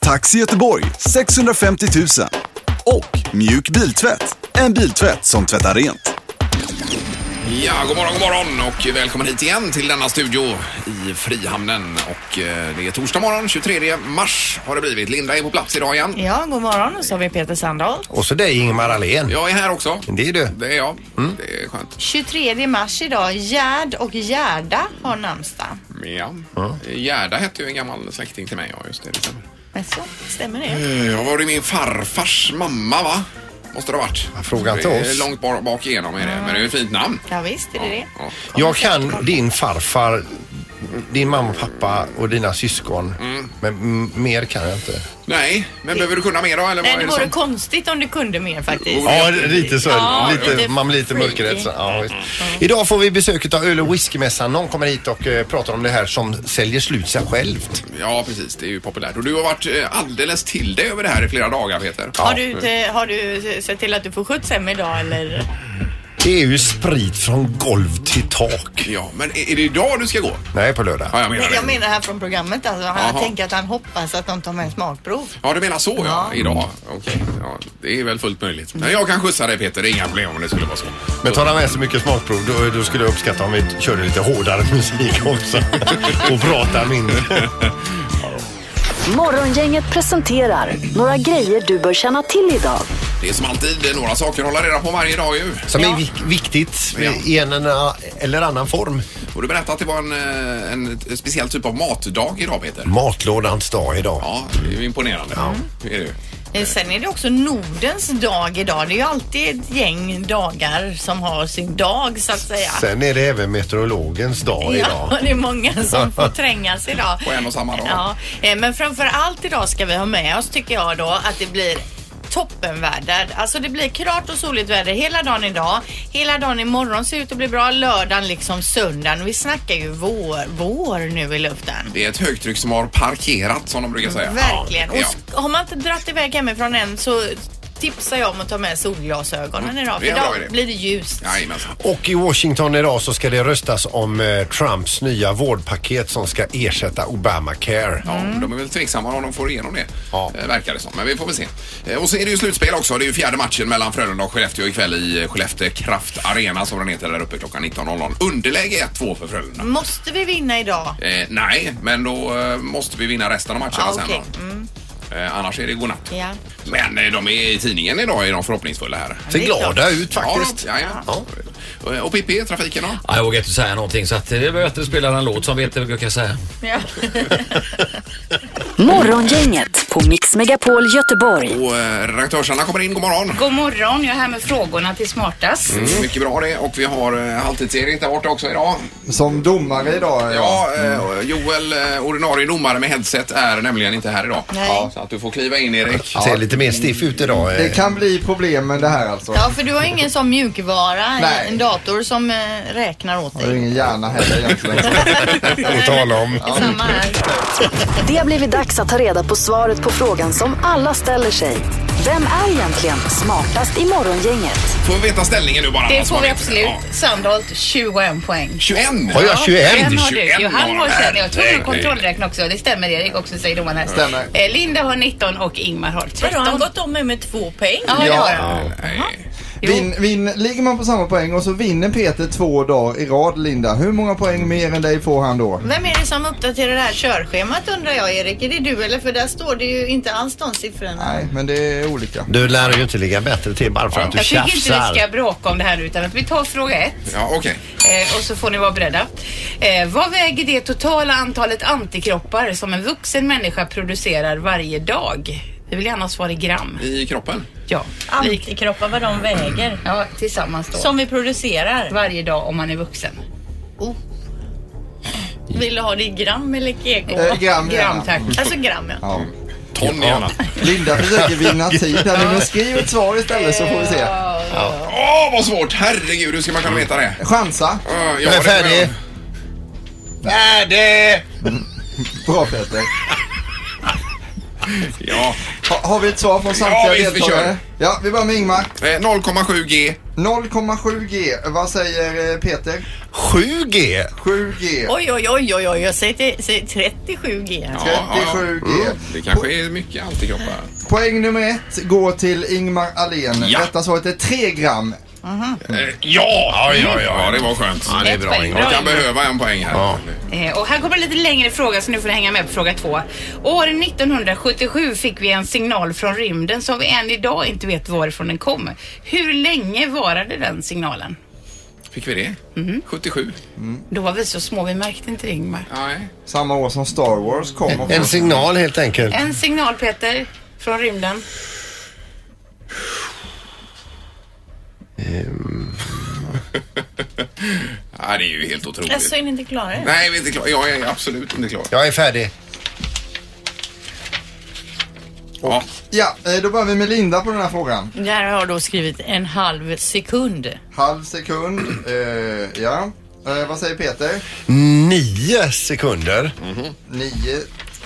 Taxi Göteborg 650 000. Och Mjuk Biltvätt, en biltvätt som tvättar rent. Ja, god morgon, god morgon och välkommen hit igen till denna studio i Frihamnen. Och eh, det är torsdag morgon, 23 mars har det blivit. Linda är på plats idag igen. Ja, god morgon. Och så har vi Peter Sandahl. Och så dig Ingemar Ahlén. Jag är här också. Det är du. Mm. Det är jag. Det är skönt. 23 mars idag. Gerd och Gerda har namnsdag. Ja. Gerda hette ju en gammal släkting till mig. Ja, just det. det stämmer. Men så, stämmer det? Eh, Jag var ju min farfars mamma, va? Måste det ha varit. Fråga inte Det är oss. Långt bak, bak igenom är det. Men det är ju ett fint namn. Ja, visst är det det. Ja. Jag kan din farfar, din mamma och pappa och dina syskon. Men m- mer kan jag inte. Nej, men behöver du kunna mer då? Eller vad Nej, är det det vore som- konstigt om du kunde mer faktiskt. Ja, lite så. Ja, lite, lite man blir lite freaky. mörkrädd. så. Ja, visst. Idag får vi besöket av Öl och whiskymässan. Någon kommer hit och eh, pratar om det här som säljer slut sig självt. Ja, precis. Det är ju populärt. Och du har varit eh, alldeles till dig över det här i flera dagar, Peter. Har du, inte- har du sett till att du får skjuts hem idag eller? Det är ju sprit från golv till tak. Ja, men är är det idag du ska gå? Nej, på lördag. Ja, jag menar Nej, Jag det. menar här från programmet alltså. Han Jaha. tänker att han hoppas att de tar med en smakprov. Ja, du menar så ja, Ja. idag. Okej, ja, det är väl fullt möjligt. Mm. Men jag kan skjutsa dig Peter, det är inga problem om det skulle vara så. Men tar han med så mycket smakprov då, då skulle jag uppskatta om vi körde lite hårdare musik också. och pratar mindre. Morgongänget presenterar några grejer du bör känna till idag. Det är som alltid det är några saker att hålla reda på varje dag ju. Som är vik- viktigt Ja. i en eller- eller annan form. Och du berättade att det var en, eh, en speciell typ av matdag idag Peter. Matlådans dag idag. Ja, det är ju imponerande. Ja. Det är det. ju. Eh, Sen är det också Nordens dag idag. Det är ju alltid ett gäng dagar som har sin dag så att säga. Sen är det även meteorologens dag Ja, idag. det är många som får trängas idag. På en och samma dag. Ja, eh, men framför allt idag ska vi ha med oss tycker jag då att det blir toppenväder. Alltså det blir klart och soligt väder hela dagen idag. Hela dagen imorgon ser ut att bli bra. Lördagen liksom söndagen. Vi snackar ju vår, vår nu i luften. Det är ett högtryck som har parkerat som de brukar säga. Verkligen. Och Ja. sk- har man inte dratt iväg hemifrån än så tipsar jag om att ta med solglasögonen idag. För Mm. det är en bra idag idé. blir det ljust. Ja. Jajamensan. Och i Washington idag så ska det röstas om eh, Trumps nya vårdpaket som ska ersätta Obamacare. Ja, De är väl tveksamma om de får igenom det, Ja. eh, verkar det som. Men vi får väl se. Eh, Och så är det ju slutspel också. Det är ju fjärde matchen mellan Frölunda och Skellefteå ikväll i eh, Skellefteå Kraft Arena som den heter där uppe klockan 19.00. Underläge 1-2 för Frölunda. Måste vi vinna idag? Eh, nej, men då eh, måste vi vinna resten av matcherna Ja, sen okej. Mm, då. Eh, annars är det godnatt. Ja. Men eh, de är i tidningen idag, är de förhoppningsfulla här. Ser glada ut faktiskt. Ja, de- ja, ja. Eh, Och Pippi, trafiken då? Ja, jag vågar inte säga någonting så att eh, det är bättre att spela en låt som vet vad jag kan säga. Ja. Morgongänget på Mix Megapol Göteborg. Och eh, redaktörsarna kommer in, god morgon. Mm. God morgon, jag är här med frågorna till smartast. Mycket bra det. Och vi har eh, halvtids-Erik där borta också idag. Som domare idag. Ja, mm. eh, Joel, eh, ordinarie domare med headset, är nämligen inte här idag. Nej. Ja, så att du får kliva in Erik. Ser lite mer stiff ut idag. eh. Det kan bli problem med det här alltså. Ja, för du har ingen sån mjukvara, Nej. en dator som eh, räknar åt Jag har dig. ingen hjärna heller egentligen. Att tala om. Samma här. Det har blivit dags att ta reda på svaret på frågan som alla ställer sig. Vem är egentligen smartast i morgongänget? Får vi veta ställningen nu bara? Det vad som får vi har blivit? absolut. Sandholt 21 poäng. 21! Har jag 21? Den har du. 21 Johan har har de. 21. Jag tror Nej, du har kontrollräkna också. Det stämmer Erik också säger domaren här. Stämmer. Eh, Linda har 19 och Ingmar har 13. om mig med två poäng? Ja, det har han. Nej. Jo. Vin, vin, ligger man på samma poäng och så vinner Peter två dagar i rad Linda. Hur många poäng mer än dig får han då? Vem är det som uppdaterar det här körschemat undrar jag Erik? Är det du eller? För där står det ju inte alls de siffrorna. Nej, men det är olika. Du lär ju inte ligga bättre till bara för att du Jag tycker inte vi ska tjafsar. bråka om det här nu, utan att vi tar fråga ett Ja, okej. eh, och så får ni vara beredda. Eh, vad väger det totala antalet antikroppar som en vuxen människa producerar varje dag? Vi vill gärna ha svar i gram. I kroppen? Ja, lik- Antikroppar vad de väger. ja tillsammans då. Som vi producerar. varje dag om man är vuxen. Vill du ha det i gram eller kg? Eh, gram, gärna. Gram tack. Alltså gram ja. Ja. ton gärna. Linda försöker vinna tid här nu, men skriv ett svar istället så får vi se. Åh, vad svårt! Herregud, hur ska man kunna veta det? Chansa. Uh, Mm. Jag är färdig. Färdig! Bra Peter. Ja. Ha, har vi ett svar från samtliga Ja, visst, vi deltagare? ja, vi börjar med Ingmar. Eh, 0,7 G. 0,7G. Vad säger eh, Peter? 7G. 7G. Oj, oj, oj, oj, oj. Jag säger, till, säger 37 G. Ja, 37G. ja. Mm, Det kanske är mycket antikroppar. Poäng nummer ett går till Ingmar Ahlén. Ja. Rätta svaret är 3 gram. Mm. Eh, Ja! Ja, ja, ja, det var skönt. Ja, det är bra Jag Ingmar. kan behöva en poäng här. Ja. Eh, Och här kommer en lite längre fråga så nu får ni hänga med på fråga två. År 1977 fick vi en signal från rymden som vi än idag inte vet varifrån den kom. Hur länge varade den signalen? Fick vi det? Mhm. 77? Mm. Då var vi så små, vi märkte inte det Ingmar. Nej. Samma år som Star Wars kom. Och En signal helt enkelt. En signal Peter, från rymden. Nej, det är ju helt otroligt. Alltså, är ni inte klara? än? Nej, vi är inte klara. Jag är absolut inte klar. Jag är färdig. Ja. ja, eh, då börjar vi med Linda på den här frågan. Där har jag då skrivit en halv sekund. Halv sekund. Eh, ja. Eh, vad säger Peter? Nio sekunder. 9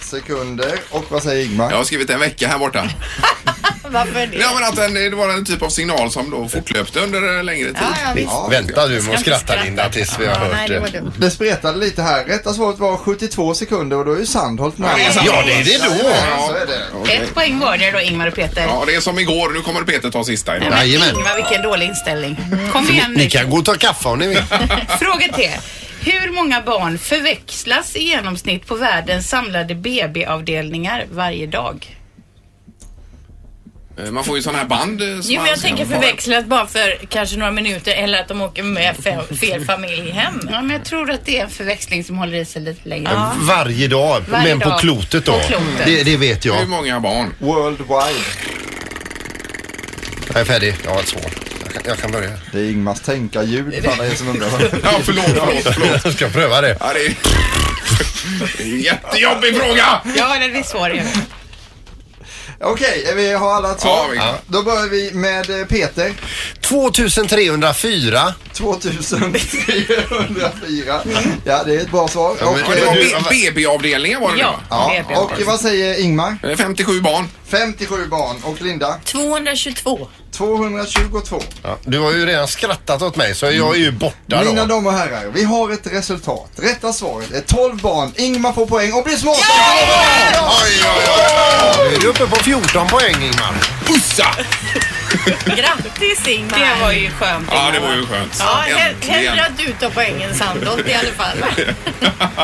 sekunder. Och vad säger Ingmar? Mm-hmm. Jag har skrivit en vecka här borta. Varför det? Ja, men att den, det var en typ av signal som då fortlöpte under en längre tid. Ja, ja, visst. Vänta du, Ska må inte skratta skratta. Linda tills vi har Ja, nej, hört det var det. eh, dumt. Det spretade lite här. Rätta svaret var 72 sekunder och då är ju Sandholt nära. det är sant. Ja, det är det då. Ja, så är det. Ett poäng var det då Ingmar och Peter. Ja, det är som igår. Nu kommer Peter ta sista imorgon. Jajamän. Ingmar vilken dålig inställning. Kom igen nu. Ni kan gå och ta kaffe om ni vill. Fråga tre. Hur många barn förväxlas i genomsnitt på världens samlade BB-avdelningar varje dag? Eh, Man får ju sådana här band. eh, som Jo, men man jag ska tänker ha. förväxlat bara för kanske några minuter eller att de åker med fe- fel familj hem. Ja, men jag tror att det är en förväxling som håller i sig lite längre. Varje dag, Varje men på dag. klotet då. På klotet. Det, det vet Hur jag. många barn? Worldwide. Jag är färdig. Jag har ett svar. Jag kan, jag kan börja. Det är Ingmars tänka-ljud för alla er som undrar. Ja, förlåt, förlåt, förlåt. Jag ska pröva det. Ja, det är... det är en jättejobbig fråga! Ja, den är svår ju. Okej, vi har alla ett svar. Ja, vi- ja. Då börjar vi med eh, Peter. 2304. 2304. Ja, det är ett bra svar. Ja, Och, men- Ja, det var eh, du- B- BB-avdelningen var det Ja, ja, det är och vad säger Ingmar? nu, va? Eh, 57 barn. 57 barn och Linda 222. 222. Ja, du har ju redan skrattat åt mig så Eh, jag är ju borta Mm. Mina då. damer och herrar, vi har ett resultat. Rätta svaret är 12 barn. Ingmar får poäng och blir smart. Oj, oj, oj. Nu är du uppe på 14 poäng Ingmar. Pussa! Grattis Ingmar! Det var ju skönt. Ja, det var ju skönt. Ja, hell- Äntligen. hellre att du tar poängen Sandholt i alla fall.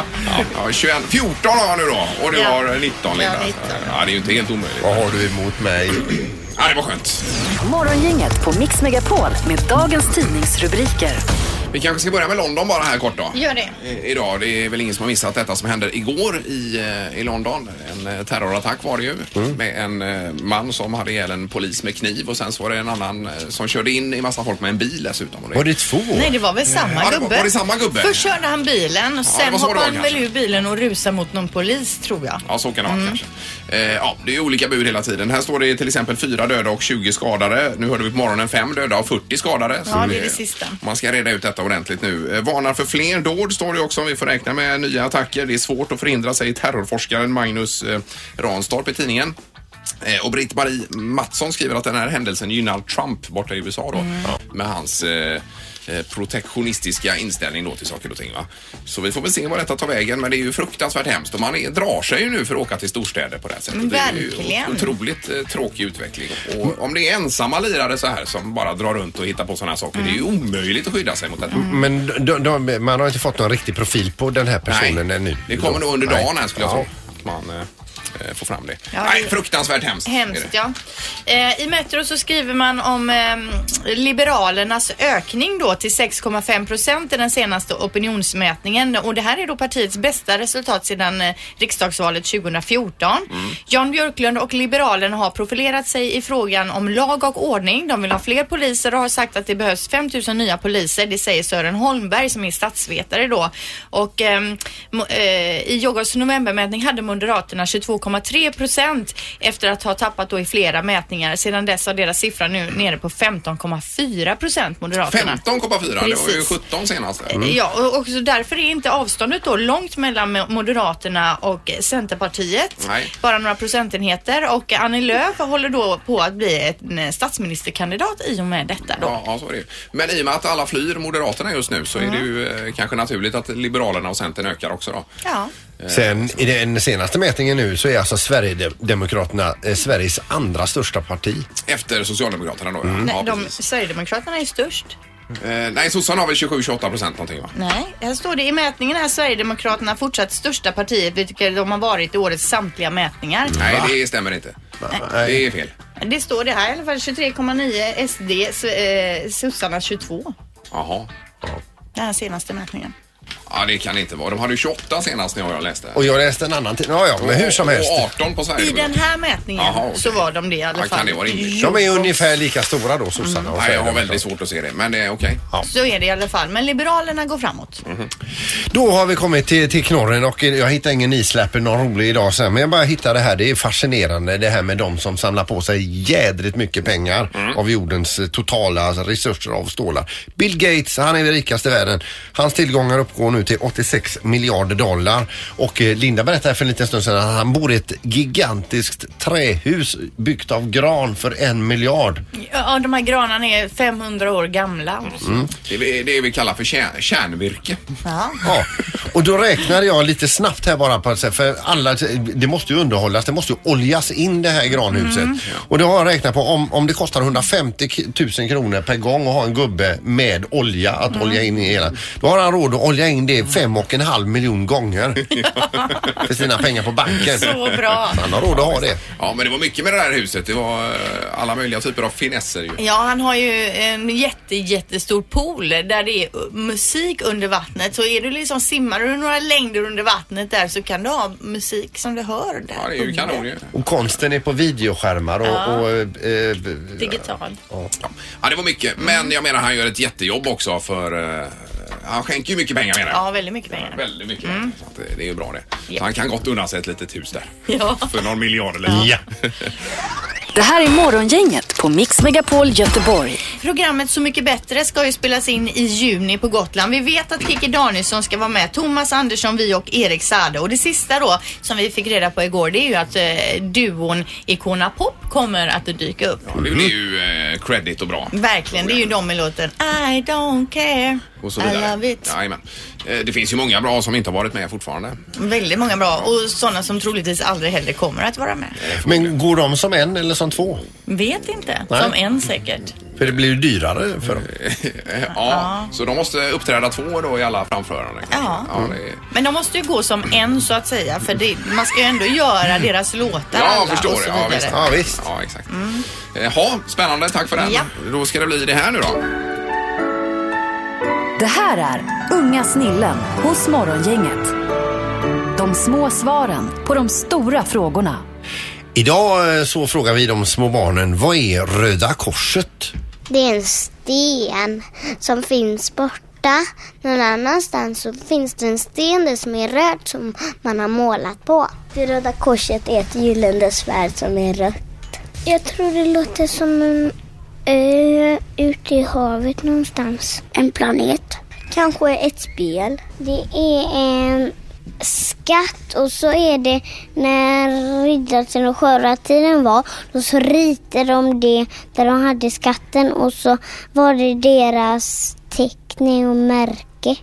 Ja, 21, 14 har jag nu då och du Ja. har 19 Linda. Ja, 19. Ja, det är ju inte helt omöjligt. Vad har du emot mig? Ja, det var skönt. Morgongänget på Mix Megapol med dagens tidningsrubriker. Vi kanske ska börja med London bara här kort då. Gör det. Eh, Idag, det är väl ingen som har missat detta som hände igår i, eh, i London. En eh, terrorattack var det ju Mm. med en eh, man som hade ihjäl en polis med kniv och sen så var det en annan eh, som körde in i massa folk med en bil dessutom. Och det- Var det två? Nej, det var väl samma Ja, det var- gubbe? var det samma gubbe? Först körde han bilen det och sen var så det hoppade var han väl kanske. ur bilen och rusade mot någon polis, tror jag. Ja, så kan det Mm. vara kanske. Eh, ja, det är ju olika bud hela tiden. Här står det till exempel fyra döda och 20 skadade. Nu hörde vi på morgonen fem döda och 40 skadade. Så Ja, det är det sista. Alltså, Man ska reda ut detta ordentligt nu. Eh, varnar för fler dåd står det också. Vi får räkna med nya attacker. Det är svårt att förhindra, säger terrorforskaren Magnus eh, Ranstorp i tidningen. Eh, Och Britt-Marie Mattsson skriver att den här händelsen gynnar Trump borta i USA då. Med hans eh, eh, protektionistiska inställning då till saker och ting. Va? Så vi får väl se vad detta tar vägen men det är ju fruktansvärt hemskt och man är, drar sig ju nu för att åka till storstäder på det här sättet. Det är ju Verkligen. otroligt eh, tråkig utveckling. Och om det är ensamma lirare så här som bara drar runt och hittar på sådana här saker, det är Mm. ju omöjligt att skydda sig mot detta. Men de, de, man har inte fått någon riktig profil på den här personen ännu. det kommer nog under Nej. dagen här skulle jag Ja. tro. Att man eh, eh, får fram det. Ja, Nej, det- fruktansvärt hemskt. är Hemskt, det. ja. Eh, I Metro så skriver man om eh, Liberalernas ökning då till 6,5 procent i den senaste opinionsmätningen och det här är då partiets bästa resultat sedan eh, riksdagsvalet 2014. Mm. Jan Björklund och Liberalerna har profilerat sig i frågan om lag och ordning. De vill ha fler poliser och har sagt att det behövs 5 000 nya poliser. Det säger Sören Holmberg som är statsvetare då. Och ehm, mo- eh, i Yogos novembermätning hade Moderaterna 22,7 2,3 procent efter att ha tappat då i flera mätningar. Sedan dess har deras siffra nu nere på 15,4 procent, Moderaterna. 15,4, det var ju Mm. Precis. Eh, 17 senast. Ja, och också därför är inte avståndet då långt mellan Moderaterna och Centerpartiet. Nej. Bara några procentenheter och Annie Lööf håller då på att bli en statsministerkandidat i och med detta då. Ja, ja, så är det ju. Men i och med att alla flyr Moderaterna just nu så är Mm. det ju eh, kanske naturligt att Liberalerna och Centern ökar också då. Ja. Eh, Sen i den senaste mätningen nu så är alltså Sverigedemokraterna eh, Sveriges andra största parti. Efter Socialdemokraterna då. Mm. Nej, Mm. Ja, de, precis. Sverigedemokraterna är störst. Eh, nej, sossarna har väl 27-28 procent någonting va? Nej, här står det i mätningen här Sverigedemokraterna fortsatt största partiet, vilket de har varit i årets samtliga mätningar. Nej, det stämmer inte. Det är fel. Det står det här i alla fall 23,9 SD, s- eh, sossarna 22. Jaha. Den här senaste mätningen. Ja, det kan det inte vara. De hade ju 28 senast när jag läste. Och jag läste en annan tid. Ja, ja, men hur som helst. Och 18 på I den Sverigedemokraterna. här mätningen Jaha, okej. så var de det i alla Ja, fall. kan det vara rimligt? Mm. De är ungefär lika stora då, sossarna och Nej, jag har Sverigedemokraterna. väldigt svårt att se det, men det är okej. Så är det i alla fall. Men Liberalerna går framåt. Mhm. Då har vi kommit till, till knorren och jag hittar ingen islapper någon rolig idag sen. Men jag bara hittade det här. Det är fascinerande det här med de som samlar på sig jädrigt mycket pengar av jordens eh, totala resurser av stålar. Bill Gates, han är den rikaste i världen. Hans tillgångar uppgår nu till 86 miljarder dollar. Och eh, Linda berättade för en liten stund sedan att han bor i ett gigantiskt trähus byggt av gran för en miljard. Ja, de här granarna är 500 år gamla. Mm. Det är vi- det är vi kallar för kärn, kärnvirke. Ja. Ja, och då räknade jag lite snabbt här bara på att säga, för alla, det måste ju underhållas, det måste ju oljas in det här granhuset. Mm. Och då har jag räknat på om, om det kostar 150 k- 000 kronor per gång att ha en gubbe med olja att Mm. olja in i hela. Då har han råd att olja in det fem och en halv miljon gånger. för sina pengar på banken. Så bra. Han har råd att ha det. Ja, men det var mycket med det här huset. Det var eh, alla möjliga typer av finesser ju. Ja, han har ju en jätte, jättestor pool där det är musik under vattnet. Så är du liksom simmar du några längder under vattnet där så kan du ha musik som du hör där. Ja, det är ju under. kanon ju. Och konsten är på videoskärmar och, och eh, Digital. Ja, det var mycket. Men jag menar, han gör ett jättejobb också för... eh, han skänker ju mycket pengar menar jag. Ja, väldigt mycket pengar. Mm. Väldigt mycket. Så att det- det är ju bra det. Ja. Så han kan gott unna sig ett litet hus där. Ja. För någon miljard eller så. Ja. Det här är Morgongänget på Mix Megapol Göteborg. Programmet Så mycket bättre ska ju spelas in i juni på Gotland. Vi vet att Kikki Danielsson ska vara med, Thomas Andersson, vi och Erik Sade. Och det sista då som vi fick reda på igår det är ju att eh, duon Icona Pop kommer att dyka upp. Ja, det Mhm. blir ju eh, credit och bra. Verkligen, det är ju de med låten I don't care. Och så I vidare. love it. Jajamän. Eh, Det finns ju många bra som inte har varit med fortfarande. Väldigt många bra och sådana som troligtvis aldrig heller kommer att vara med. Men går de som en eller som två? Vet inte. Nej. Som en säkert. För det blir ju dyrare för dem. ja, Så de måste uppträda två då i alla framföranden. Ja. Ja, det är... Men de måste ju gå som en så att säga för det, man ska ju ändå göra deras låtar Mm. Ja, jag alla förstår och det. så Ja, vidare. Mm. visst. Ja, visst. ja exakt. Jaha, spännande. Tack för den. Ja. Då ska det bli det här nu då. Det här är Unga snillen hos Morgongänget. De små svaren på de stora frågorna. Idag eh, så frågar vi de små barnen, vad är Röda Korset? Det är en sten som finns borta. Någon annanstans så finns det en sten där som är röd som man har målat på. Det röda korset är ett gyllene svärd som är rött. Jag tror det låter som en ö ute i havet någonstans. En planet. Kanske ett spel. Det är en skatt och så är det när riddartiden och sjöratiden var då så ritade de det där de hade skatten och så var det deras teckning och märke.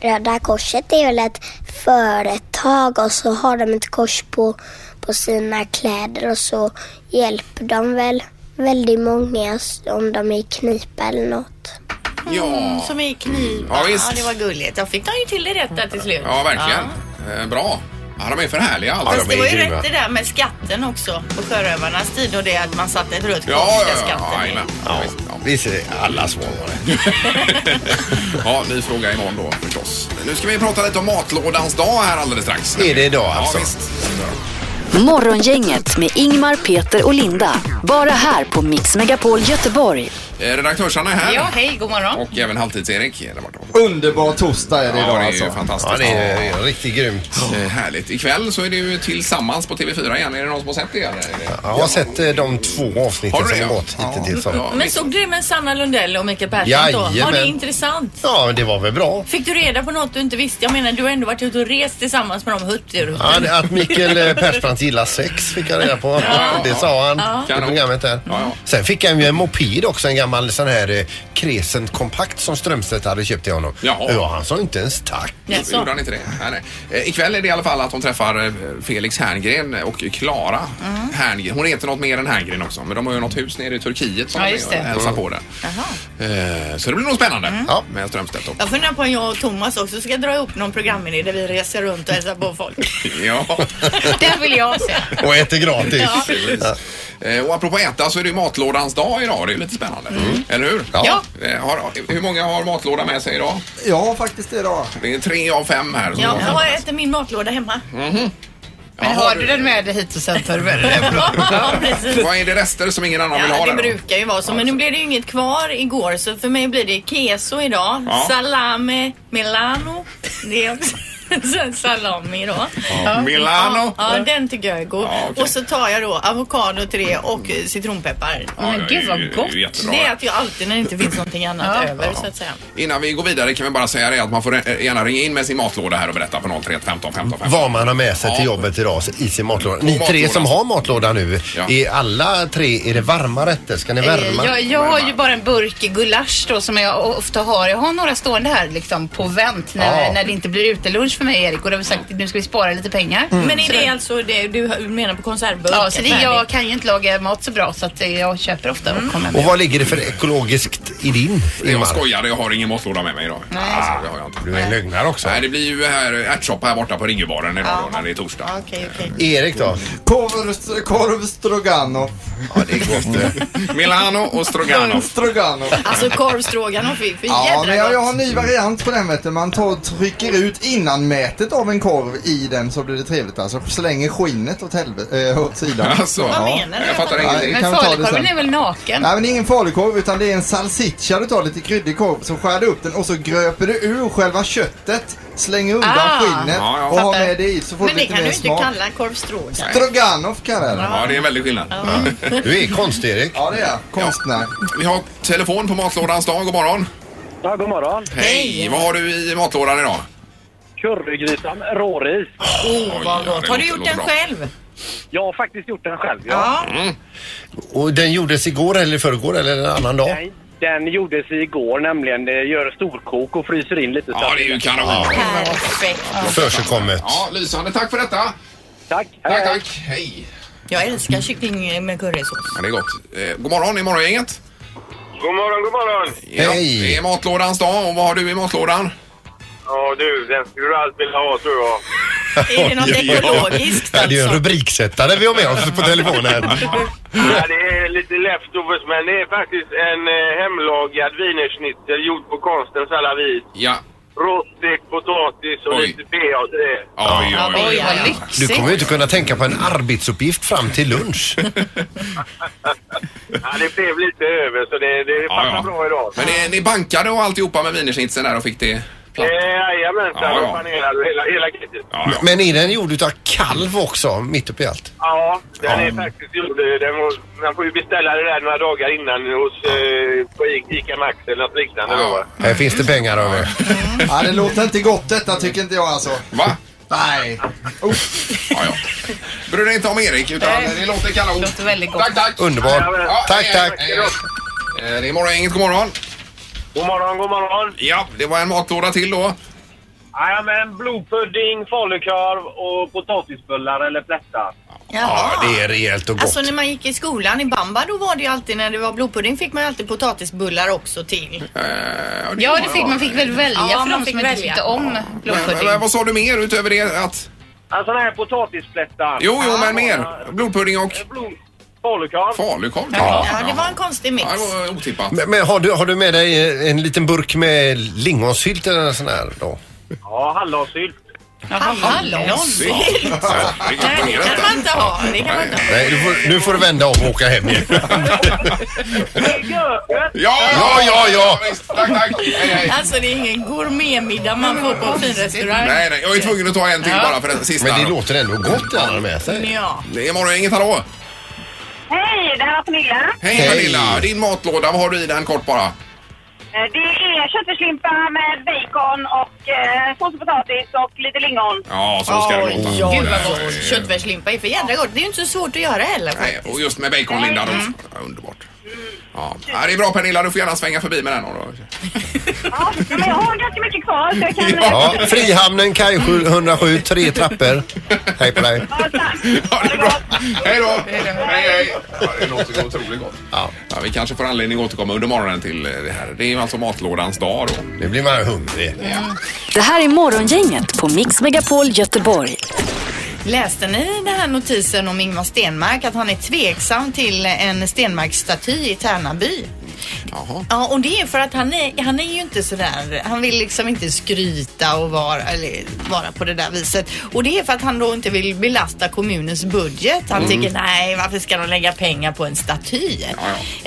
Röda korset är väl ett företag och så har de ett kors på, på sina kläder och så hjälper de väl väldigt många om de är i knipa eller något. Ja, Mm, Som i kniv. Ja, visst. det var gulligt. Jag fick de ju till det rätta till slut. ja verkligen. Eh, Bra. Ja, de är för härliga alltså. alla. Fast det var ju grymma. rätt det där med skatten också på sjörövarnas tid och det att man satte ett rött kors Ja, ja, där ja. skatten ja, är. jajamän. ja, visst, ja. Vi ser alla små barn. Ja, ny fråga imorgon då förstås. Nu ska vi prata lite om matlådans dag här alldeles strax. Är det idag alltså? Ja, visst. Morgongänget med Ingmar, Peter och Linda. Bara här på Mix Megapol Göteborg. Eh, Redaktörsarna är här. Ja, hej, god morgon. Och även Halvtids-Erik. är där borta. Underbar torsdag är det idag det är alltså. ju fantastiskt. Ja, det är riktigt grymt. Eh, Härligt. Ikväll så är det ju Tillsammans på TV4 igen. Är det någon som har sett det? Eller? Jag har sett eh, de två avsnitten Har du som det? har gått Ja. hittills. Ja. Ja. Men såg du det med Sanna Lundell och Mikael Persson då? Var det Jajamän. intressant? ja, men det var väl bra. Fick du reda på något du inte visste? Jag menar, du har ändå varit ute och rest tillsammans med dem Hurtigruten. Ja, det- att Mikael eh, Persbrandt gillar sex fick jag reda på. Ja. Det sa han i Kanon. programmet där. Ja, ja. Sen fick han ju en moped också, en gammal sån här eh, Crescent kompakt som Strömstedt hade köpt till honom. Jaha. Ja, han sa inte ens tack. Jaså? Gjorde han inte det? Nej, nej. Eh, Ikväll är det i alla fall att hon träffar eh, Felix Herngren och Klara Herngren. Hon heter något mer än Herngren också, men de har ju något hus nere i Turkiet som Ja, de just det. Mm. hälsar på där. Eh, Så det blir nog spännande Ja. med Strömstedt och Jag funderar på om jag och Thomas också ska dra ihop någon programidé där vi reser runt och hälsar på folk. Ja. det vill jag se. Och äter gratis. Ja. Ja. Eh, Och apropå äta så är det ju matlådans dag idag. Det är ju lite spännande. Eller hur? Mm. Ja. Eh, Har, hur många har matlåda med sig idag? Jag har faktiskt det idag. Det är tre av fem här. som Ja, har- Mhm. jag äter min matlåda hemma. Men Jaha, har du den med dig hit och sen tar du med dig den? ja, precis. Vad är det rester som ingen annan vill Ja, ha? det där då? brukar ju vara så. Men nu blev det ju inget kvar igår så för mig blir det keso idag. Ja. Salame Milano. Det är också sen salami då. Ja. Milano. Ja, ja, den tycker jag är god. Ja, okej. Och så tar jag då avokado till det och eh, citronpeppar. Ja, Men gud, vad det är ju- gott. det är ju jättebra. Det äter jag alltid när det inte finns någonting annat över så att säga. Innan vi går vidare kan vi bara säga det att man får re- gärna ringa in med sin matlåda här och berätta på 031 15 15 15. Vad man har med sig till Ja. jobbet idag så- i sin matlåda. Ni tre matlådan. som har matlåda nu, Ja. är alla tre, är det varma rätter? Ska ni värma? Eh, Jag, jag har ju bara en burk gulasch då som jag ofta har. Jag har några stående här liksom på vänt när, Ja. när det inte blir utelunch för mig och Erik och de har sagt att nu ska vi spara lite pengar. Men är Mm. Så det det- alltså det du menar på konservburkar? Ja, så det, jag färdigt? kan ju inte laga mat så bra så att eh, jag köper ofta och kommer Och med. vad ligger det för ekologiskt i din, Jag Ingmar? skojade, jag har ingen matlåda med mig idag. Nej. Alltså, det har jag inte. Du är en lögnare också. Nej, det blir ju här eh, ärtsoppa här borta på Ringebaren idag då, när det är torsdag. Okej, okej. Eh, Erik då? Korv, korv stroganoff. Ja, det är gott det. Milano och stroganoff. Stroganoff. Alltså korv stroganoff är för Ja, men jädra jag, jag gott. har en ny variant på den vet du. Man tar, trycker ut innanmätet av en korv i den så blir det trevligt alltså. Slänger skinnet åt, helvete, äh, åt sidan. Alltså, Vad ja. menar du? Jag fattar Nej, ingenting. kan Men vi ta det falukorven sen? är väl naken? Nej men det är ingen falukorv utan det är en salsiccia du tar lite kryddig korv så skär du upp den och så gröper du ur själva köttet, slänger undan Ah. skinnet Ja, ja. och har Fattar. med det i så får du Men det lite kan du mer inte smak. kalla korv stroganoff. Stroganoff kallar jag det. Ja, det är en väldig skillnad. Du är konst, Erik. Ja det är jag. konstnär. Vi har telefon på matlådans dag. God morgon. Ja, god morgon. Hej! Vad har du i matlådan idag? Currygryta med råris. Åh, vad Oj, ja, gott. det Har låter- du gjort låter den bra. själv? Jag har faktiskt gjort den själv. Ja. Ja. Mm. Och den gjordes igår eller i förrgår eller en annan dag? Nej, Den gjordes igår nämligen. Det gör storkok och fryser in lite. så Ja, att- det är ju kanon. Äh, Perfekt. Försigkommet. Ja, lysande. Tack för detta. Tack. Tack, Hej. tack. Hej. Jag älskar kyckling med currysås. Ja, det är gott. Eh, god morgon, i morgongänget. God morgon, god morgon. Ja, Hej. Det är matlådans dag och vad har du i matlådan? Ja, du, den skulle du allt vilja ha, tror jag. Är det något ekologiskt Ja, det är ju en alltså? rubriksättare vi har med oss på telefonen. Ja, det är lite leftovers, men det är faktiskt en eh, hemlagad wienerschnitzel gjord på konstens alla vis. Ja. Råstekt potatis och Oj. lite PA till det. Ja, oj, Ja, oj, oj. oj, vad Du lyxigt. kommer ju inte kunna tänka på en arbetsuppgift fram till lunch. Ja, det blev lite över, så det, det Ja, passar ja. bra idag. Men ni, ni bankade och alltihopa med wienerschnitzeln där och fick det platt? Eh, Jajamensan, Ja, ja, ja. ja. panerad hela, hela kittet. Ja, ja. Men är den gjord utav kalv också, mitt uppe i allt? Ja, den är faktiskt gjord. Den må, man får ju beställa det där några dagar innan hos eh, på I- Ica Max eller något liknande. Ja. Då. Här finns det pengar över. Ja, det låter inte gott detta tycker inte jag alltså. Va? Nej. Ja, ja. Bryr dig inte om Erik, utan det låter kanon. Låter väldigt gott. Tack, tack. Underbart. Ja, Tack, hej, tack. hej, hej. Eh, Det är morgongänget, god morgon. God morgon, god morgon. Ja, det var en matlåda till då. Jajamän, blodpudding, falukorv och potatisbullar eller plättar. Ja, Jaha. det är rejält och gott. Alltså när man gick i skolan i Bamba då var det ju alltid när det var blodpudding fick man ju alltid potatisbullar också till. Eh, Ja, det fick man fick väl välja Ja, för man de fick som inte välja. tyckte om Men, blodpudding. men vad sa du mer utöver det att... Alltså den här potatisplättar. Jo, jo, men mer. Blodpudding och Blod, falukorv. falukorv. Ja, det var en konstig mix. Ja, det var otippat. Men, men har, du, har du med dig eh, en liten burk med lingonsylt eller en sån här då? Ja, hallonsylt. Hallon? Nej, det kan man inte ha. Det kan man inte ha. Nej, nu, får, nu får du vända om och åka hem igen. Ja, ja, ja. Tack, tack. Hej, hej. Alltså det är ingen gourmetmiddag man får på en fin restaurang. Nej, nej, jag är tvungen att ta en till Ja. bara för den sista. Men det då. låter ändå gott det han har med sig. Ja. Det är morgon, inget hallå. Hej, det här är Pernilla. Hej Pernilla, din matlåda, vad har du i den kort bara? Eh, Det är köttfärslimpa med bacon och eh, sås och potatis och lite lingon. Ja, så ska det Oj, låta. Gud vad gott. Köttfärslimpa är för jädra gott. Det är ju inte så svårt att göra heller. Nej, och just med baconlinda. då. Ja, Underbart. Ja. ja, det är bra Pernilla. Du får gärna svänga förbi med den. då. Ja, men jag har ganska mycket kvar så jag kan... Ja, Frihamnen, kaj 107, tre trappor. Hej på dig. Hej då! Hej, hej! Ja, det låter otroligt gott. Ja. vi kanske får anledning att återkomma under morgonen till eh, det här. Det är ju alltså matlådans dag då. Nu blir man hungrig. Det här är Morgongänget på Mix Megapol Göteborg. Läste ni den här notisen om Ingmar Stenmark att han är tveksam till en Stenmarksstaty i Tärnaby? Jaha. Ja, och det är för att han är, han är ju inte sådär, han vill liksom inte skryta och vara, eller, vara på det där viset. Och det är för att han då inte vill belasta kommunens budget. Han Mm. tycker nej, varför ska de lägga pengar på en staty? ja.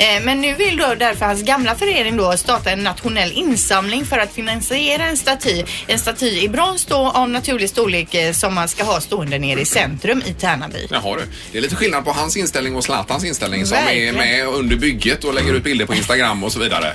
Eh, Men nu vill då därför hans gamla förening då starta en nationell insamling för att finansiera en staty. En staty i brons då av naturlig storlek eh, som man ska ha stående nere i centrum i Tärnaby. Jaha du. Det är lite skillnad på hans inställning och Zlatans inställning som Verkligen. är med under bygget och lägger ut bilder på Instagram och så vidare.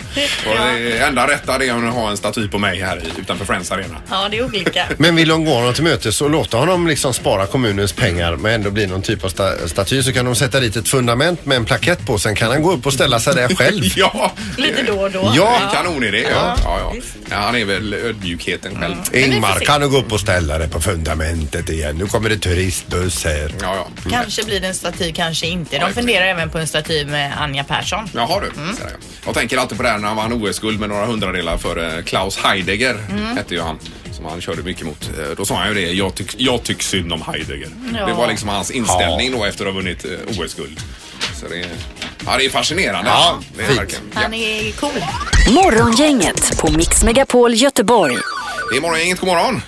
Och det enda rätta det är att ha en staty på mig här i- utanför Friends Arena. Ja, det är olika. Men vill de gå honom till mötes och låta honom liksom spara kommunens pengar men ändå bli någon typ av sta staty så kan de sätta dit ett fundament med en plakett på. Sen kan han gå upp och ställa sig där själv. ja. Lite då och då. Ja. Kanonidé. Ja. Ja. Mm. Ja, ja. Ja, han är väl eh, ödmjukheten själv. Ingmar, kan du gå upp och ställa dig på fundamentet igen? Nu kommer det turistbuss här. Ja, ja. Kanske blir det en staty, kanske inte. De funderar även på en staty med Anja Persson. Mm. Jaha du. Ser jag. Jag tänker alltid på det här när han vann OS-guld med några hundradelar för eh, Klaus Heidegger. Mm. Hette ju han. Som han körde mycket mot. Eh, Då sa han ju det. Jag, tyck, jag tycker synd om Heidegger. Ja. Det var liksom hans inställning då efter att ha vunnit eh, OS-guld. Så det, är- ja, det är fascinerande. Ja, det är verkligen. Han är cool. Morgongänget på Mix Megapol Göteborg. Det är morgongänget, god morgon.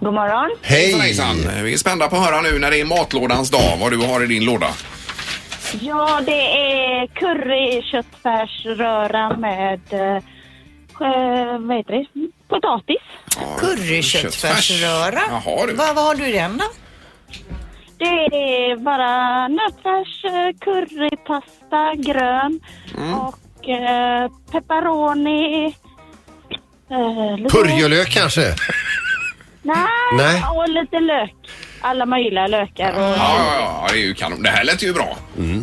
God morgon. Hej! Hejsan. Vi är spända på att höra nu när det är matlådans dag vad du har i din låda. Ja, det är curry, köttfärsröra med... eh, Eh, vad heter det? Potatis. Curryköttfärsröra. Jaha, du. Vad, vad har du i den då? Det är bara nötfärs, eh, currypasta, grön och eh, pepperoni. Eh, lite- Purjolök kanske? Nej, Nej. och lite lök. Alla möjliga lökar. Och... Ja, ja, ja, det är ju kanon. Det här lät ju bra.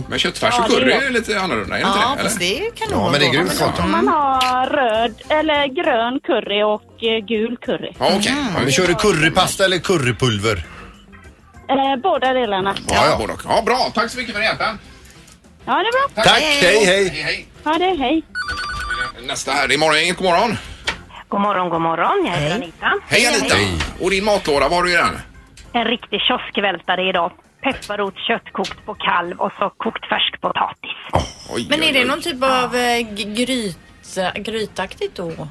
Men köttfärs och Ja, det curry är är lite annorlunda, är det Ja, inte det? fast det är kanon Ja, men det är då. grymt gott. Man har röd, eller grön curry och eh, gul curry. Mm. Ja, okej. Men kör du currypasta eller currypulver? Eh, båda delarna. Ja, ja. ja, bra. Tack så mycket för hjälpen. Ja, det är bra. Tack. Tack, hej, hej. Ja, det är hej. Nästa här, det är morgongänget. God morgon. God morgon, god morgon. Jag heter Anita. Hej Anita! Och din matlåda, vad har du i den? En riktig kioskvältare idag. Pepparrot, köttkokt på kalv och så kokt färskpotatis. Men är det någon typ av eh, g- gryta, grytaktigt då?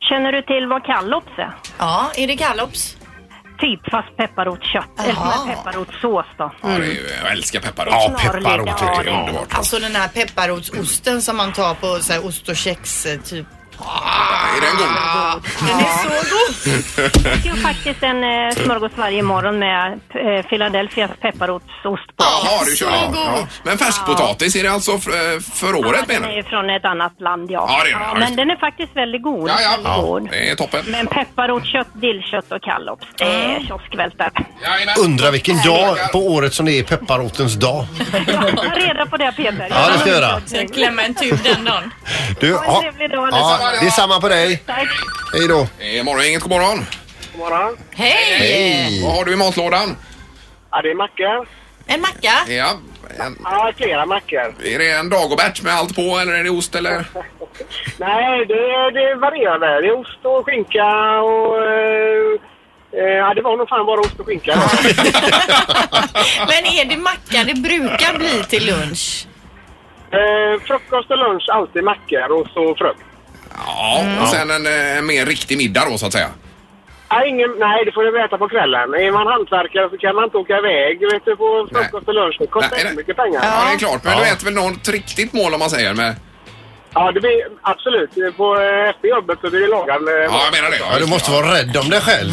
Känner du till vad kallops är? Ja, är det kallops? Typ fast pepparrotskött. Eller med pepparrotssås då. Ja, det är, ju- jag älskar pepparrot. Ja, pepparrot, ja, det är underbart. Alltså den här pepparrotsosten som man tar på så här, ost och kex eh, typ. Är den god? Ah. Den är så god! Jag gör faktiskt en Mm. eh, smörgås varje morgon med eh, Philadelphias pepparrotsost på. Jaha, du kör. Ja, ja. Men färskpotatis, är det alltså för, för året Den menar är du? ju från ett annat land, ja. Ja, det är den, ja, men just det. den är faktiskt väldigt god. Ja, ja. Väldigt ja, god. det är toppen. Men pepparrotskött, dillkött och kallops, det är kioskvältare. Undrar vilken dag på året som det är pepparrotens dag. Ta reda på det Peter. Ja, det ska jag göra. Ska jag klämma en tub den dagen? Du, ja, ja, det är samma på dig. Tack. Hej då. Eh, Morgongänget, god morgon. God morgon. Hej! Vad har du i matlådan? Ja, det är macka. En macka? Ja. Ja, flera mackor. Är det en dagobert med allt på eller är det ost Mm. eller? Nej, det, det varierar där. Det är ost och skinka och... eh, eh, Ja, det var nog fan bara ost och skinka. Men är det macka? Det brukar bli till lunch. Eh, frukost och lunch, alltid mackor och så frukt. Ja, och sen en, eh, mer riktig middag då så att säga. Ja, Nej, ingen, nej, det får du äta på kvällen. Är man hantverkare så kan man inte åka iväg vet du, på frukost och lunch. Det kostar nej, mycket pengar. Ja, det är klart. Men du äter väl något riktigt mål om man säger med... Ja, det blir absolut. På, eh, efter jobbet så blir det lagad eh, Ja, jag menar det. Ja, du måste vara rädd om dig själv.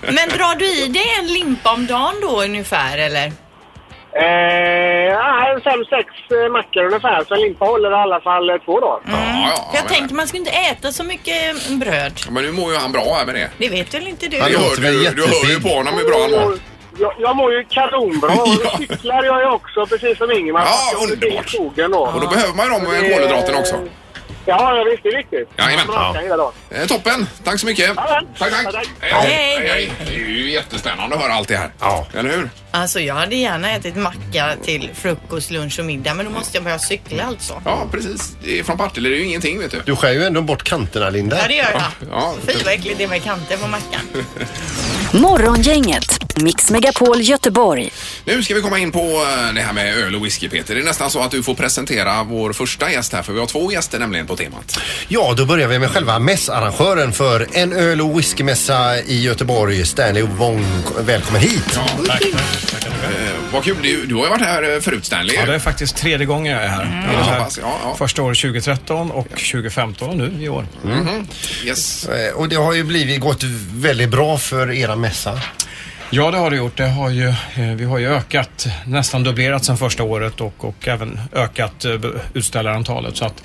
Men drar du i dig en limpa om dagen då ungefär eller? Eh, ja, en fem, sex eh, mackor ungefär. Så en limpa håller i alla fall eh, två dagar. Mm. För jag tänkte man skulle inte äta så mycket eh, bröd. Men nu mår ju han bra här med det. Det vet väl inte du? Det hör du, du hör ju på honom hur bra han mår. Jag, jag mår ju kanonbra och då cyklar jag ju också precis som Ingemar. Ja, Jag åker till underbart. skogen då. Och då behöver man ju de Det- eh, kolhydraterna också. Ja, ja, visst det är viktigt. Jajamän. Man orkar hela dagen. Eh, Toppen! Tack så mycket! Tack, tack! Hej, hej! Det är ju jättespännande att höra allt det här. Ja. Eller hur? Alltså jag hade gärna ätit macka till frukost, lunch och middag men då måste jag börja cykla alltså. Ja, precis. Det är från Partille det är ju ingenting, vet du. Du skär ju ändå bort kanterna, Linda. Ja, det gör jag. Ja. Fy vad äckligt det är med kanter på mackan. Morgongänget, Mix Megapol Göteborg. Nu ska vi komma in på eh, det här med öl och whisky, Peter. Det är nästan så att du får presentera vår första gäst här, för vi har två gäster nämligen på temat. Ja, då börjar vi med själva mässarrangören för en öl och whiskymässa i Göteborg. Stanley Wong, välkommen hit. Tack, Mm. tack. Eh, vad kul. Du, du har ju varit här eh, förut, Stanley. Ja, det är faktiskt tredje gången jag är Mm. här. Jag var Ja, här pass, ja, ja. Första året 2013 och 2015 och nu i år. Mm-hmm. Yes. Eh, Och det har ju blivit gått väldigt bra för era mässa. Ja, det har det gjort. Det har ju, eh, vi har ju ökat, nästan dubblerat sedan första året och, och även ökat eh, be- utställarantalet. Så att,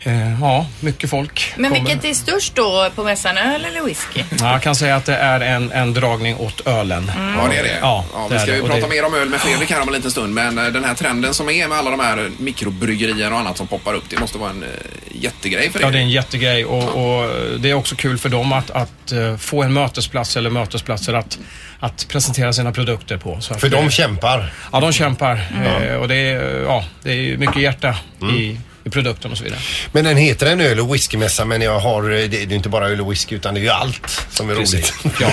eh, ja, mycket folk. Men kommer. vilket är störst då på mässan, öl eller whisky? Ja, jag kan säga att det är en, en dragning åt ölen. Ja, det är det. Ja, vi det är ska det. ju Och prata det- mer om öl med Fredrik här om en liten stund, men eh, den här trenden som är med alla de här mikrobryggerierna och annat som poppar upp, det måste vara en eh, jättegrej för er. Ja, det är en jättegrej och, och det är också kul för dem att, att eh, få en mötesplats eller mötesplatser att, att presentera sina produkter på. Så att För det- de kämpar. Ja, de kämpar Mm. eh, och det är, eh, ja, det är ju mycket hjärta i, i produkten och så vidare. Men den heter en öl och whiskymässa men jag har, eh, det det är ju inte bara öl och whisky utan det är ju allt som är roligt. Ja.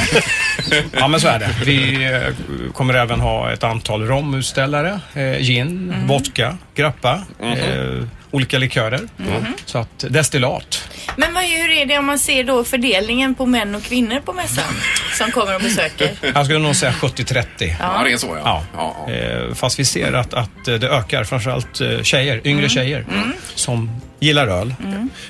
ja, men så är det. Vi eh, kommer även ha ett antal romutställare, eh, gin, vodka, grappa, Mm-hmm. eh, olika likörer. Så att destillat. Men vad, hur är det om man ser då fördelningen på män och kvinnor på mässan som kommer och besöker? Jag skulle nog säga 70-30. Ja, det är så ja. Eh, Fast vi ser att, att eh, det ökar, framförallt eh, tjejer, yngre Mm. Mm. tjejer som gillar öl.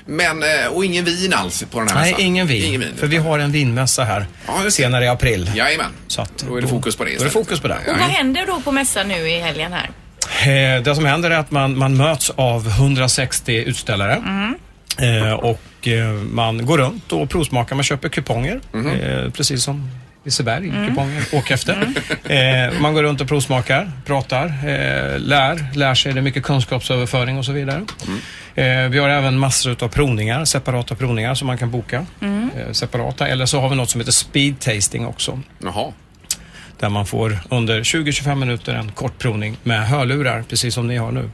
Men, eh, och ingen vin alls på den här Nej, mässan? ingen vin. För vi har en vinmässa här senare i april. Jajamän. Så att, Då är det fokus på det Då är det istället. fokus på det. Och vad händer då på mässan nu i helgen här? Eh, Det som händer är att man, man möts av 160 utställare. Mm. Mm. Eh, och eh, man går runt och provsmakar, man köper kuponger. Eh, precis som Liseberg, kuponger, åk efter. Eh, man går runt och provsmakar, pratar, eh, lär, lär sig. Det är mycket kunskapsöverföring och så vidare. Eh, vi har även massor utav provningar, separata provningar som man kan boka. Mm. Eh, separata. Eller så har vi något som heter speed tasting också. Jaha. Där man får under 20-25 minuter en kort provning med hörlurar, precis som ni har nu.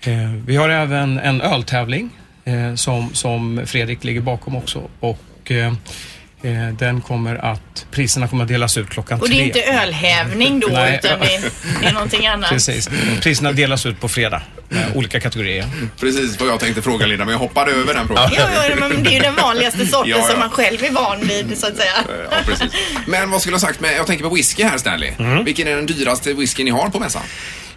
Eh, vi har även en öltävling eh, som, som Fredrik ligger bakom också. Och, eh, eh, den kommer att, priserna kommer att delas ut klockan Och det tre. är inte ölhävning då Nej. utan det är, det är någonting annat. Precis. Priserna delas ut på fredag med olika kategorier. Mm, Precis vad jag tänkte fråga Linda, men jag hoppade över den frågan. Jo, jo, men det är ju den vanligaste sorten Ja, ja. som man själv är van vid så att säga. Ja, precis. Men vad skulle jag ha sagt med, jag tänker på whisky här Stanley. Mm. Vilken är den dyraste whisky ni har på mässan?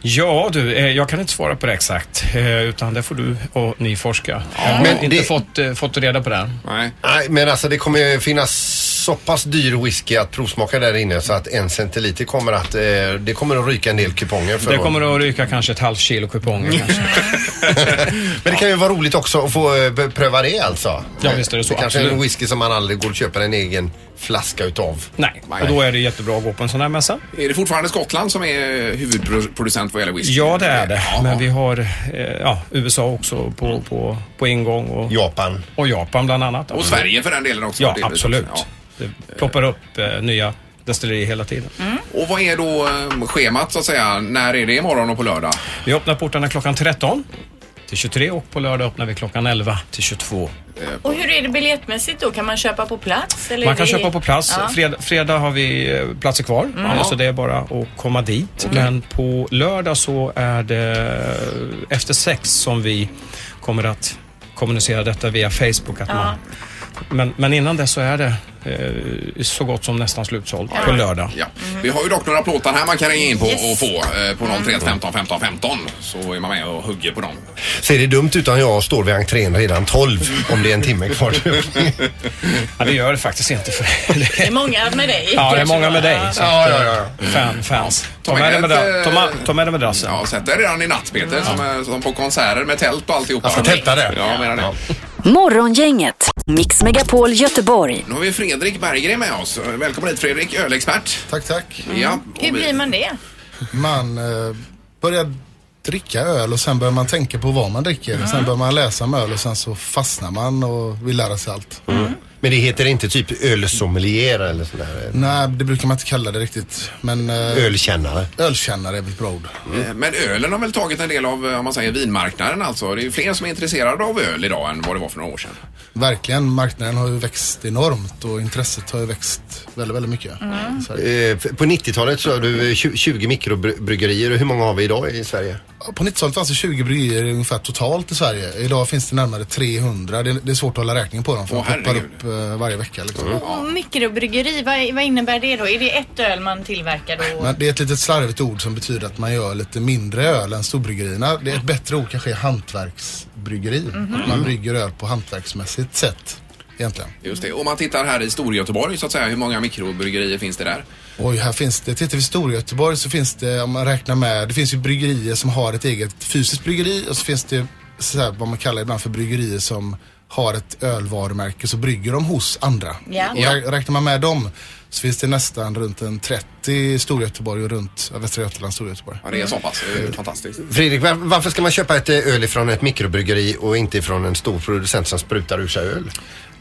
Ja du, eh, jag kan inte svara på det exakt. eh, Utan det får du och ni forska. Jag har Men inte det- fått, eh, fått reda på det. Nej. Nej, men alltså det kommer ju finnas så pass dyr whisky att provsmaka där inne så att en centiliter kommer att, eh, det kommer att ryka en del kuponger för Det vår- kommer att ryka kanske ett halvt kilo Mm. kuponger. kanske. Men det kan ju vara roligt också att få eh, be- pröva det alltså. Ja, visst är det så, kanske är en absolut. whisky som man aldrig går och köper en egen flaska utav. Nej, och då är det jättebra att gå på en sån här mässa. Är det fortfarande Skottland som är huvudproducent vad gäller whisky? Ja, det är det. Men vi har eh, ja, USA också på, på, på ingång. Och, Japan. Och Japan bland annat. Och Sverige för den delen också. Ja, delvis. absolut. Ja. Det ploppar upp eh, nya destillerier hela tiden. Mm. Och vad är då eh, schemat så att säga? När är det imorgon och på lördag? Vi öppnar portarna klockan 13 till 23 och på lördag öppnar vi klockan 11 till 22. Och hur är det biljettmässigt då? Kan man köpa på plats? Eller Man kan är det- köpa på plats. Ja. Fredag, fredag har vi eh, platser kvar, Mm. eh, så det är bara att komma dit. Men på lördag så är det eh, efter sex som vi kommer att kommunicera detta via Facebook. Att Ja. man Men, men innan dess så är det eh, så gott som nästan slutsåld på lördag. Ja. Vi har ju dock några plåtar här man kan ringa in på och få eh, på 031 15 15 15 så är man med och hugger på dem. Ser det dumt ut om jag står vid entrén redan 12 om det är en timme kvar till öppning? Ja, det gör det faktiskt inte. För... Det är många med dig. Ja, det är många med dig. så Ja, att, ja, ja. Mm. eh, Fan, fans. Ta Ta med dig med medal- ett, ta ma- ta med Mm. dig madrassen. Ja, sätt dig redan i natt Peter, som, eh, som på konserter med tält och alltihopa. Jag ska tälta där. Ja, jag menar det. Morgongänget, Mix Megapol Göteborg. Nu har vi Fredrik Berggren med oss. Välkommen hit Fredrik, ölexpert. Mm. Tack, tack. Ja, Hur blir man det? Man eh, börjar dricka öl och sen börjar man tänka på vad man dricker. Sen börjar man läsa om öl och sen så fastnar man och vill lära sig allt. Men det heter inte typ ölsommelier eller eh, sådär? Nej, det brukar man inte kalla det riktigt. Men, eh, Ölkännare? Ölkännare är väl ett bra ord. Mm. Eh, Men ölen har väl tagit en del av, eh, om man säger, vinmarknaden alltså. Det är ju fler som är intresserade av öl idag än vad det var för några år sedan. Verkligen, marknaden har ju växt enormt och intresset har ju växt väldigt, väldigt mycket. Mm. Eh, f- På 90-talet så har du eh, tju- 20 mikrobryggerier. Hur många har vi idag i Sverige? Ja, På 90-talet fanns det 20 bryggerier ungefär totalt i Sverige. Idag finns det närmare 300. Det, det är svårt att hålla räkning på dem för Åh, de poppar herregud. Mm. upp eh, varje vecka. Liksom. Och mikrobryggeri, vad, vad innebär det då? Är det ett öl man tillverkar då? Men det är ett litet slarvigt ord som betyder att man gör lite mindre öl än storbryggerierna. Det är ett bättre ord kanske är hantverksbryggeri. Mhm. Att Man brygger öl på hantverksmässigt sätt egentligen. Just det. Om man tittar här i Storgöteborg så att säga, hur många mikrobryggerier finns det där? Oj, här finns det, tittar vi i Storgöteborg så finns det, om man räknar med, det finns ju bryggerier som har ett eget fysiskt bryggeri och så finns det så här, vad man kallar ibland för bryggerier som har ett ölvarumärke så brygger de hos andra. Ja. Och rä- räknar man med dem så finns det nästan runt en 30 i Storgöteborg och runt ja, Västra Götaland, Storgöteborg. Ja, det är så pass. Det är ju fantastiskt. Fredrik, var- varför ska man köpa ett eh, öl ifrån ett mikrobryggeri och inte ifrån en stor producent som sprutar ur sig öl?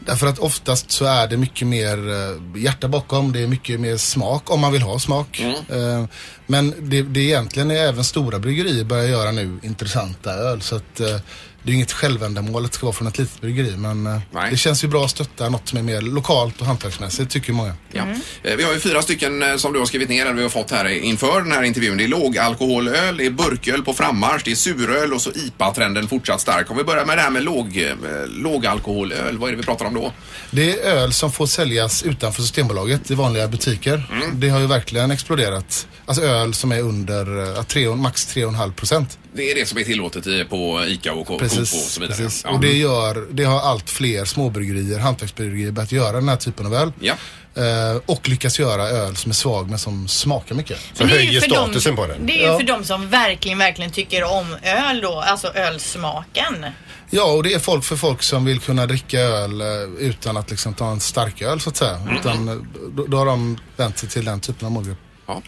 Därför att oftast så är det mycket mer eh, hjärta bakom, det är mycket mer smak om man vill ha smak. Eh, Men det, det egentligen är även stora bryggerier börjar göra nu intressanta öl. Så att eh, det är inget självändamål att det ska vara från ett litet bryggeri. Men eh, det känns ju bra att stötta något som är mer lokalt och hantverksmässigt tycker många. Ja. Eh, Vi har ju fyra stycken eh, som du har skrivit ner, eller vi har fått här inför den här intervjun. Det är lågalkoholöl, det är burköl på frammarsch, det är suröl och så IPA-trenden fortsatt stark. Om vi börjar med det här med låg, eh, lågalkoholöl, vad är det vi pratar om då? Det är öl som får säljas utanför Systembolaget i vanliga butiker. Det har ju verkligen exploderat. Alltså öl som är under eh, tre, och- max 3,5 procent. Det är det som är tillåtet i- på ICA och Coop och så vidare. precis. Ja. Och det, gör, det har allt fler småbryggerier, hantverksbryggerier börjat göra den här typen av öl. Ja. Eh, och lyckas göra öl som är svag men som smakar mycket. Men det är ju för dem- Det är ju för dem som verkligen, verkligen tycker om öl då, alltså ölsmaken. Ja, och det är folk för folk som vill kunna dricka öl eh, utan att liksom ta en stark öl så att säga. Mm. Mhm. Utan, eh, då, då har de vänt sig till den typen av målgrupp.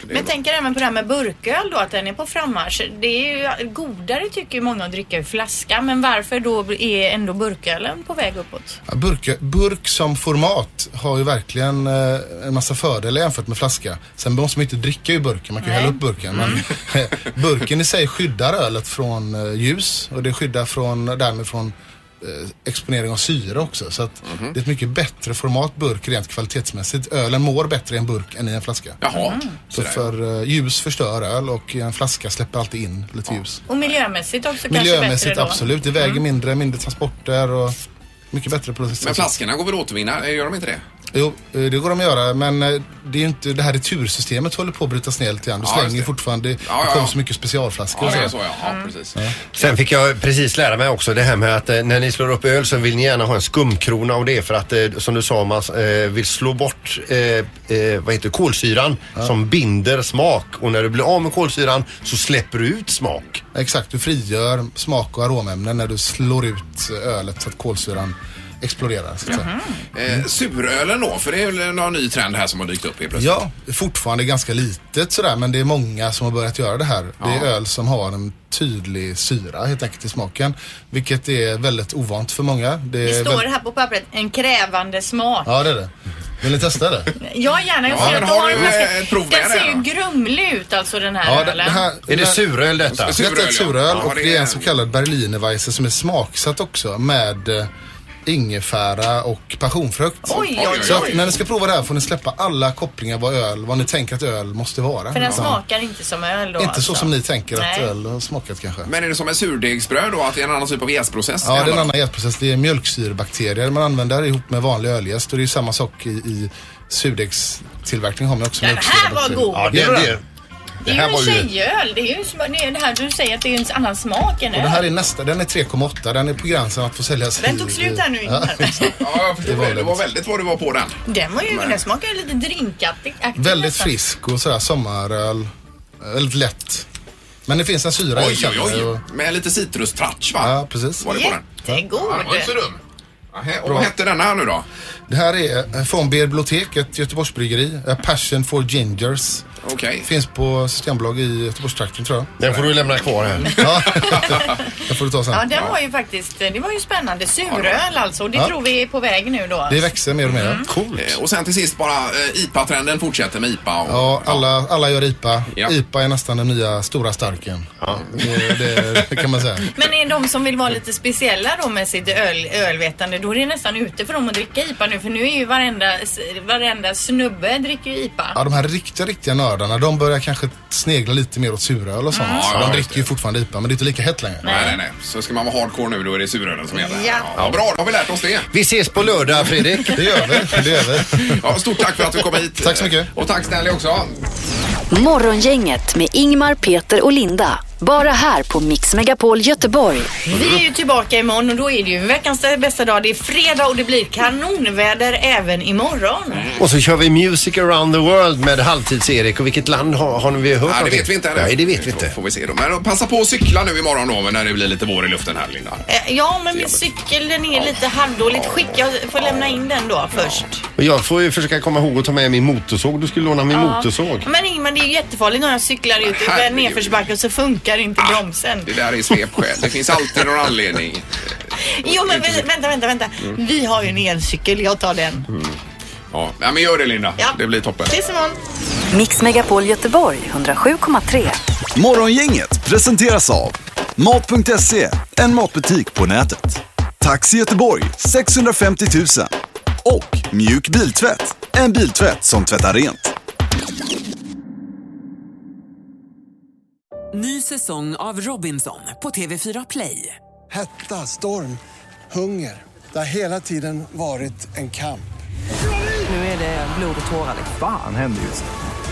Men jag tänker även på det här med burköl då, att den är på frammarsch. Det är ju godare tycker ju många att dricka ur flaska, men varför då är ändå burkölen på väg uppåt? Ja, Burk, burk som format har ju verkligen eh, en massa fördelar jämfört med flaska. Sen måste man ju inte dricka ur burken, man kan ju Nej. Mm. hälla upp burken. Men burken i sig skyddar ölet från eh, ljus och det skyddar från, därmed från eh, exponering av syre också. Så att Mhm. det är ett mycket bättre format burk rent kvalitetsmässigt. Ölen mår bättre i en burk än i en flaska. Mm. Jaha. Så för eh, ljus förstör öl och i en flaska släpper alltid in lite ljus. Och miljömässigt också kanske bättre Miljömässigt då? absolut, det väger Mm. mindre, mindre transporter och mycket bättre process. Men flaskorna går väl att återvinna, Eh, gör de inte det? Jo, eh, det går de att göra men eh, det är ju inte, det här retursystemet håller på att brytas ner lite grann. Du Ja, slänger just ju det. fortfarande, ja, det kommer ja. så mycket specialflaskor Ja, och det är så. så ja. ja precis. Sen fick jag precis lära mig också det här med att eh, när ni slår upp öl så vill ni gärna ha en skumkrona och det är för att eh, som du sa man eh, vill slå bort eh, eh, vad heter det, kolsyran som binder smak och när du blir av med kolsyran så släpper du ut smak. Exakt, du frigör smak och aromämnen när du slår ut eh, ölet så att kolsyran exploderar. Så att säga. Eh, surölen då, för det är väl någon ny trend här som har dykt upp helt plötsligt? Ja, det är fortfarande ganska litet sådär men det är många som har börjat göra det här. Det är Ja. öl som har en tydlig syra helt enkelt i smaken. Vilket är väldigt ovant för många. Det, är Det står väldigt- här på pappret, en krävande smak. Eh, Ja, det är det. Vill ni testa det? Ja, gärna. Jag Ja, ser men att du har har en du, flaska. eh, ett prov Den med ser det ju grumlig ut alltså den här ölen. suröl detta? Detta är ett Suröl, ja. suröl Ja, och det det är en så kallad Berlinerweisse som är smaksatt också med eh, ingefära och passionfrukt. Oj, oj, oj. Så att när ni ska prova det här får ni släppa alla kopplingar vad öl, vad ni tänker att öl måste vara. För den Utan- smakar inte som öl då Inte alltså. så som ni tänker att Nej. öl har smakat kanske. Men är det som en surdegsbröd då, att det är en annan typ av jäsprocess? Ja, det är en handlar om? annan jästprocess. Det är mjölksyrebakterier man använder ihop med vanlig öljäst och det är ju samma sak i, i surdegstillverkning har man också Den här mjölksyrebakterier. var god. Ja, det var den. det Det är här ju en var ju- tjejöl. Det är ju som, det, är det här du säger att det är en annan smak än Och den öl. här är nästa, den är 3,8. Den är på gränsen att få säljas Den i- tog slut här nu, i- Ingmar. Ja, jag förstår det. Det var väldigt vad du var på den. Den var ju, Nej. den smakar ju lite drinkaktig. Väldigt nästan. frisk och sådär sommaröl. Väldigt lätt. Men det finns en syra i Oj, oj, kärnan och- oj. Med lite citrustratch va? Ja, precis. Var det på den? Jättegod. Ja, den var inte så dum. Nähä, Och Bra. vad hette den här nu då? Det här är eh, från Bibliotek, ett Göteborgsbryggeri. A Passion for Gingers. Okej. Finns på Systembolag i Göteborgstrakten tror jag. Den får du lämna kvar här. Ja, den får du ta sen. Ja, den var ju faktiskt, det var ju spännande. Suröl alltså. Och det Ja. tror vi är på väg nu då. Det växer mer och Mm. mer. Coolt. Eh, Och sen till sist bara eh, IPA-trenden fortsätter med IPA. Och, Ja, alla, alla gör IPA. IPA är nästan den nya stora starken. Det, det, det kan man säga. Men är de som vill vara lite speciella då med sitt öl, ölvetande, då är det nästan ute för dem att dricka IPA nu. För nu är ju varenda, varenda snubbe dricker ju IPA. Ja, de här riktiga, riktiga nördarna, de börjar kanske snegla lite mer åt suröl och sånt. Mm. Ja, de ja, dricker ju fortfarande IPA, men det är inte lika hett längre. Nej, nej, nej. Så ska man vara hardcore nu, då är det surölen som gäller. Ja. ja. Bra, då har vi lärt oss det. Vi ses på lördag Fredrik. Det gör vi. Det gör vi. Ja, stort tack för att du kom hit. Tack så mycket. Och tack Stanley också. Morgongänget med Ingmar, Peter och Linda. Bara här på Mix Megapol Göteborg. Vi är ju tillbaka imorgon och då är det ju veckans bästa dag. Det är fredag och det blir kanonväder även imorgon. Och så kör vi Music around the world med Halvtids-Erik. Och vilket land har, har vi hört Ja, det någonting? vet vi inte än. Nej, det vet vi inte. Får vi se då. Men passa på att cykla nu imorgon då, men när det blir lite vår i luften här, Linda. Eh, Ja, men min cykel den är lite halvdåligt skick. Jag får lämna in den då först. Och jag får ju försöka komma ihåg att ta med min motorsåg. Du skulle låna min Ja. motorsåg. Men Ingmar, det är ju jättefarligt när jag cyklar ut i en herregud. nedförsbacke och så funkar inte bromsen. Det där är svepskäl. Det finns alltid någon anledning. Jo, men vä- vänta, vänta, vänta. Mm. Vi har ju en elcykel. Jag tar den. Ja, ja, men gör det Linda. Ja. Det blir toppen. Ses imorgon. Mix Megapol Göteborg 107,3. Morgongänget presenteras av Mat.se, en matbutik på nätet. Taxi Göteborg 650 000 och Mjuk Biltvätt, en biltvätt som tvättar rent. Ny säsong av Robinson på TV4 Play. Hetta, storm, hunger. Det har hela tiden varit en kamp. Nu är det blod och tårar. liksom. Fan händer just nu.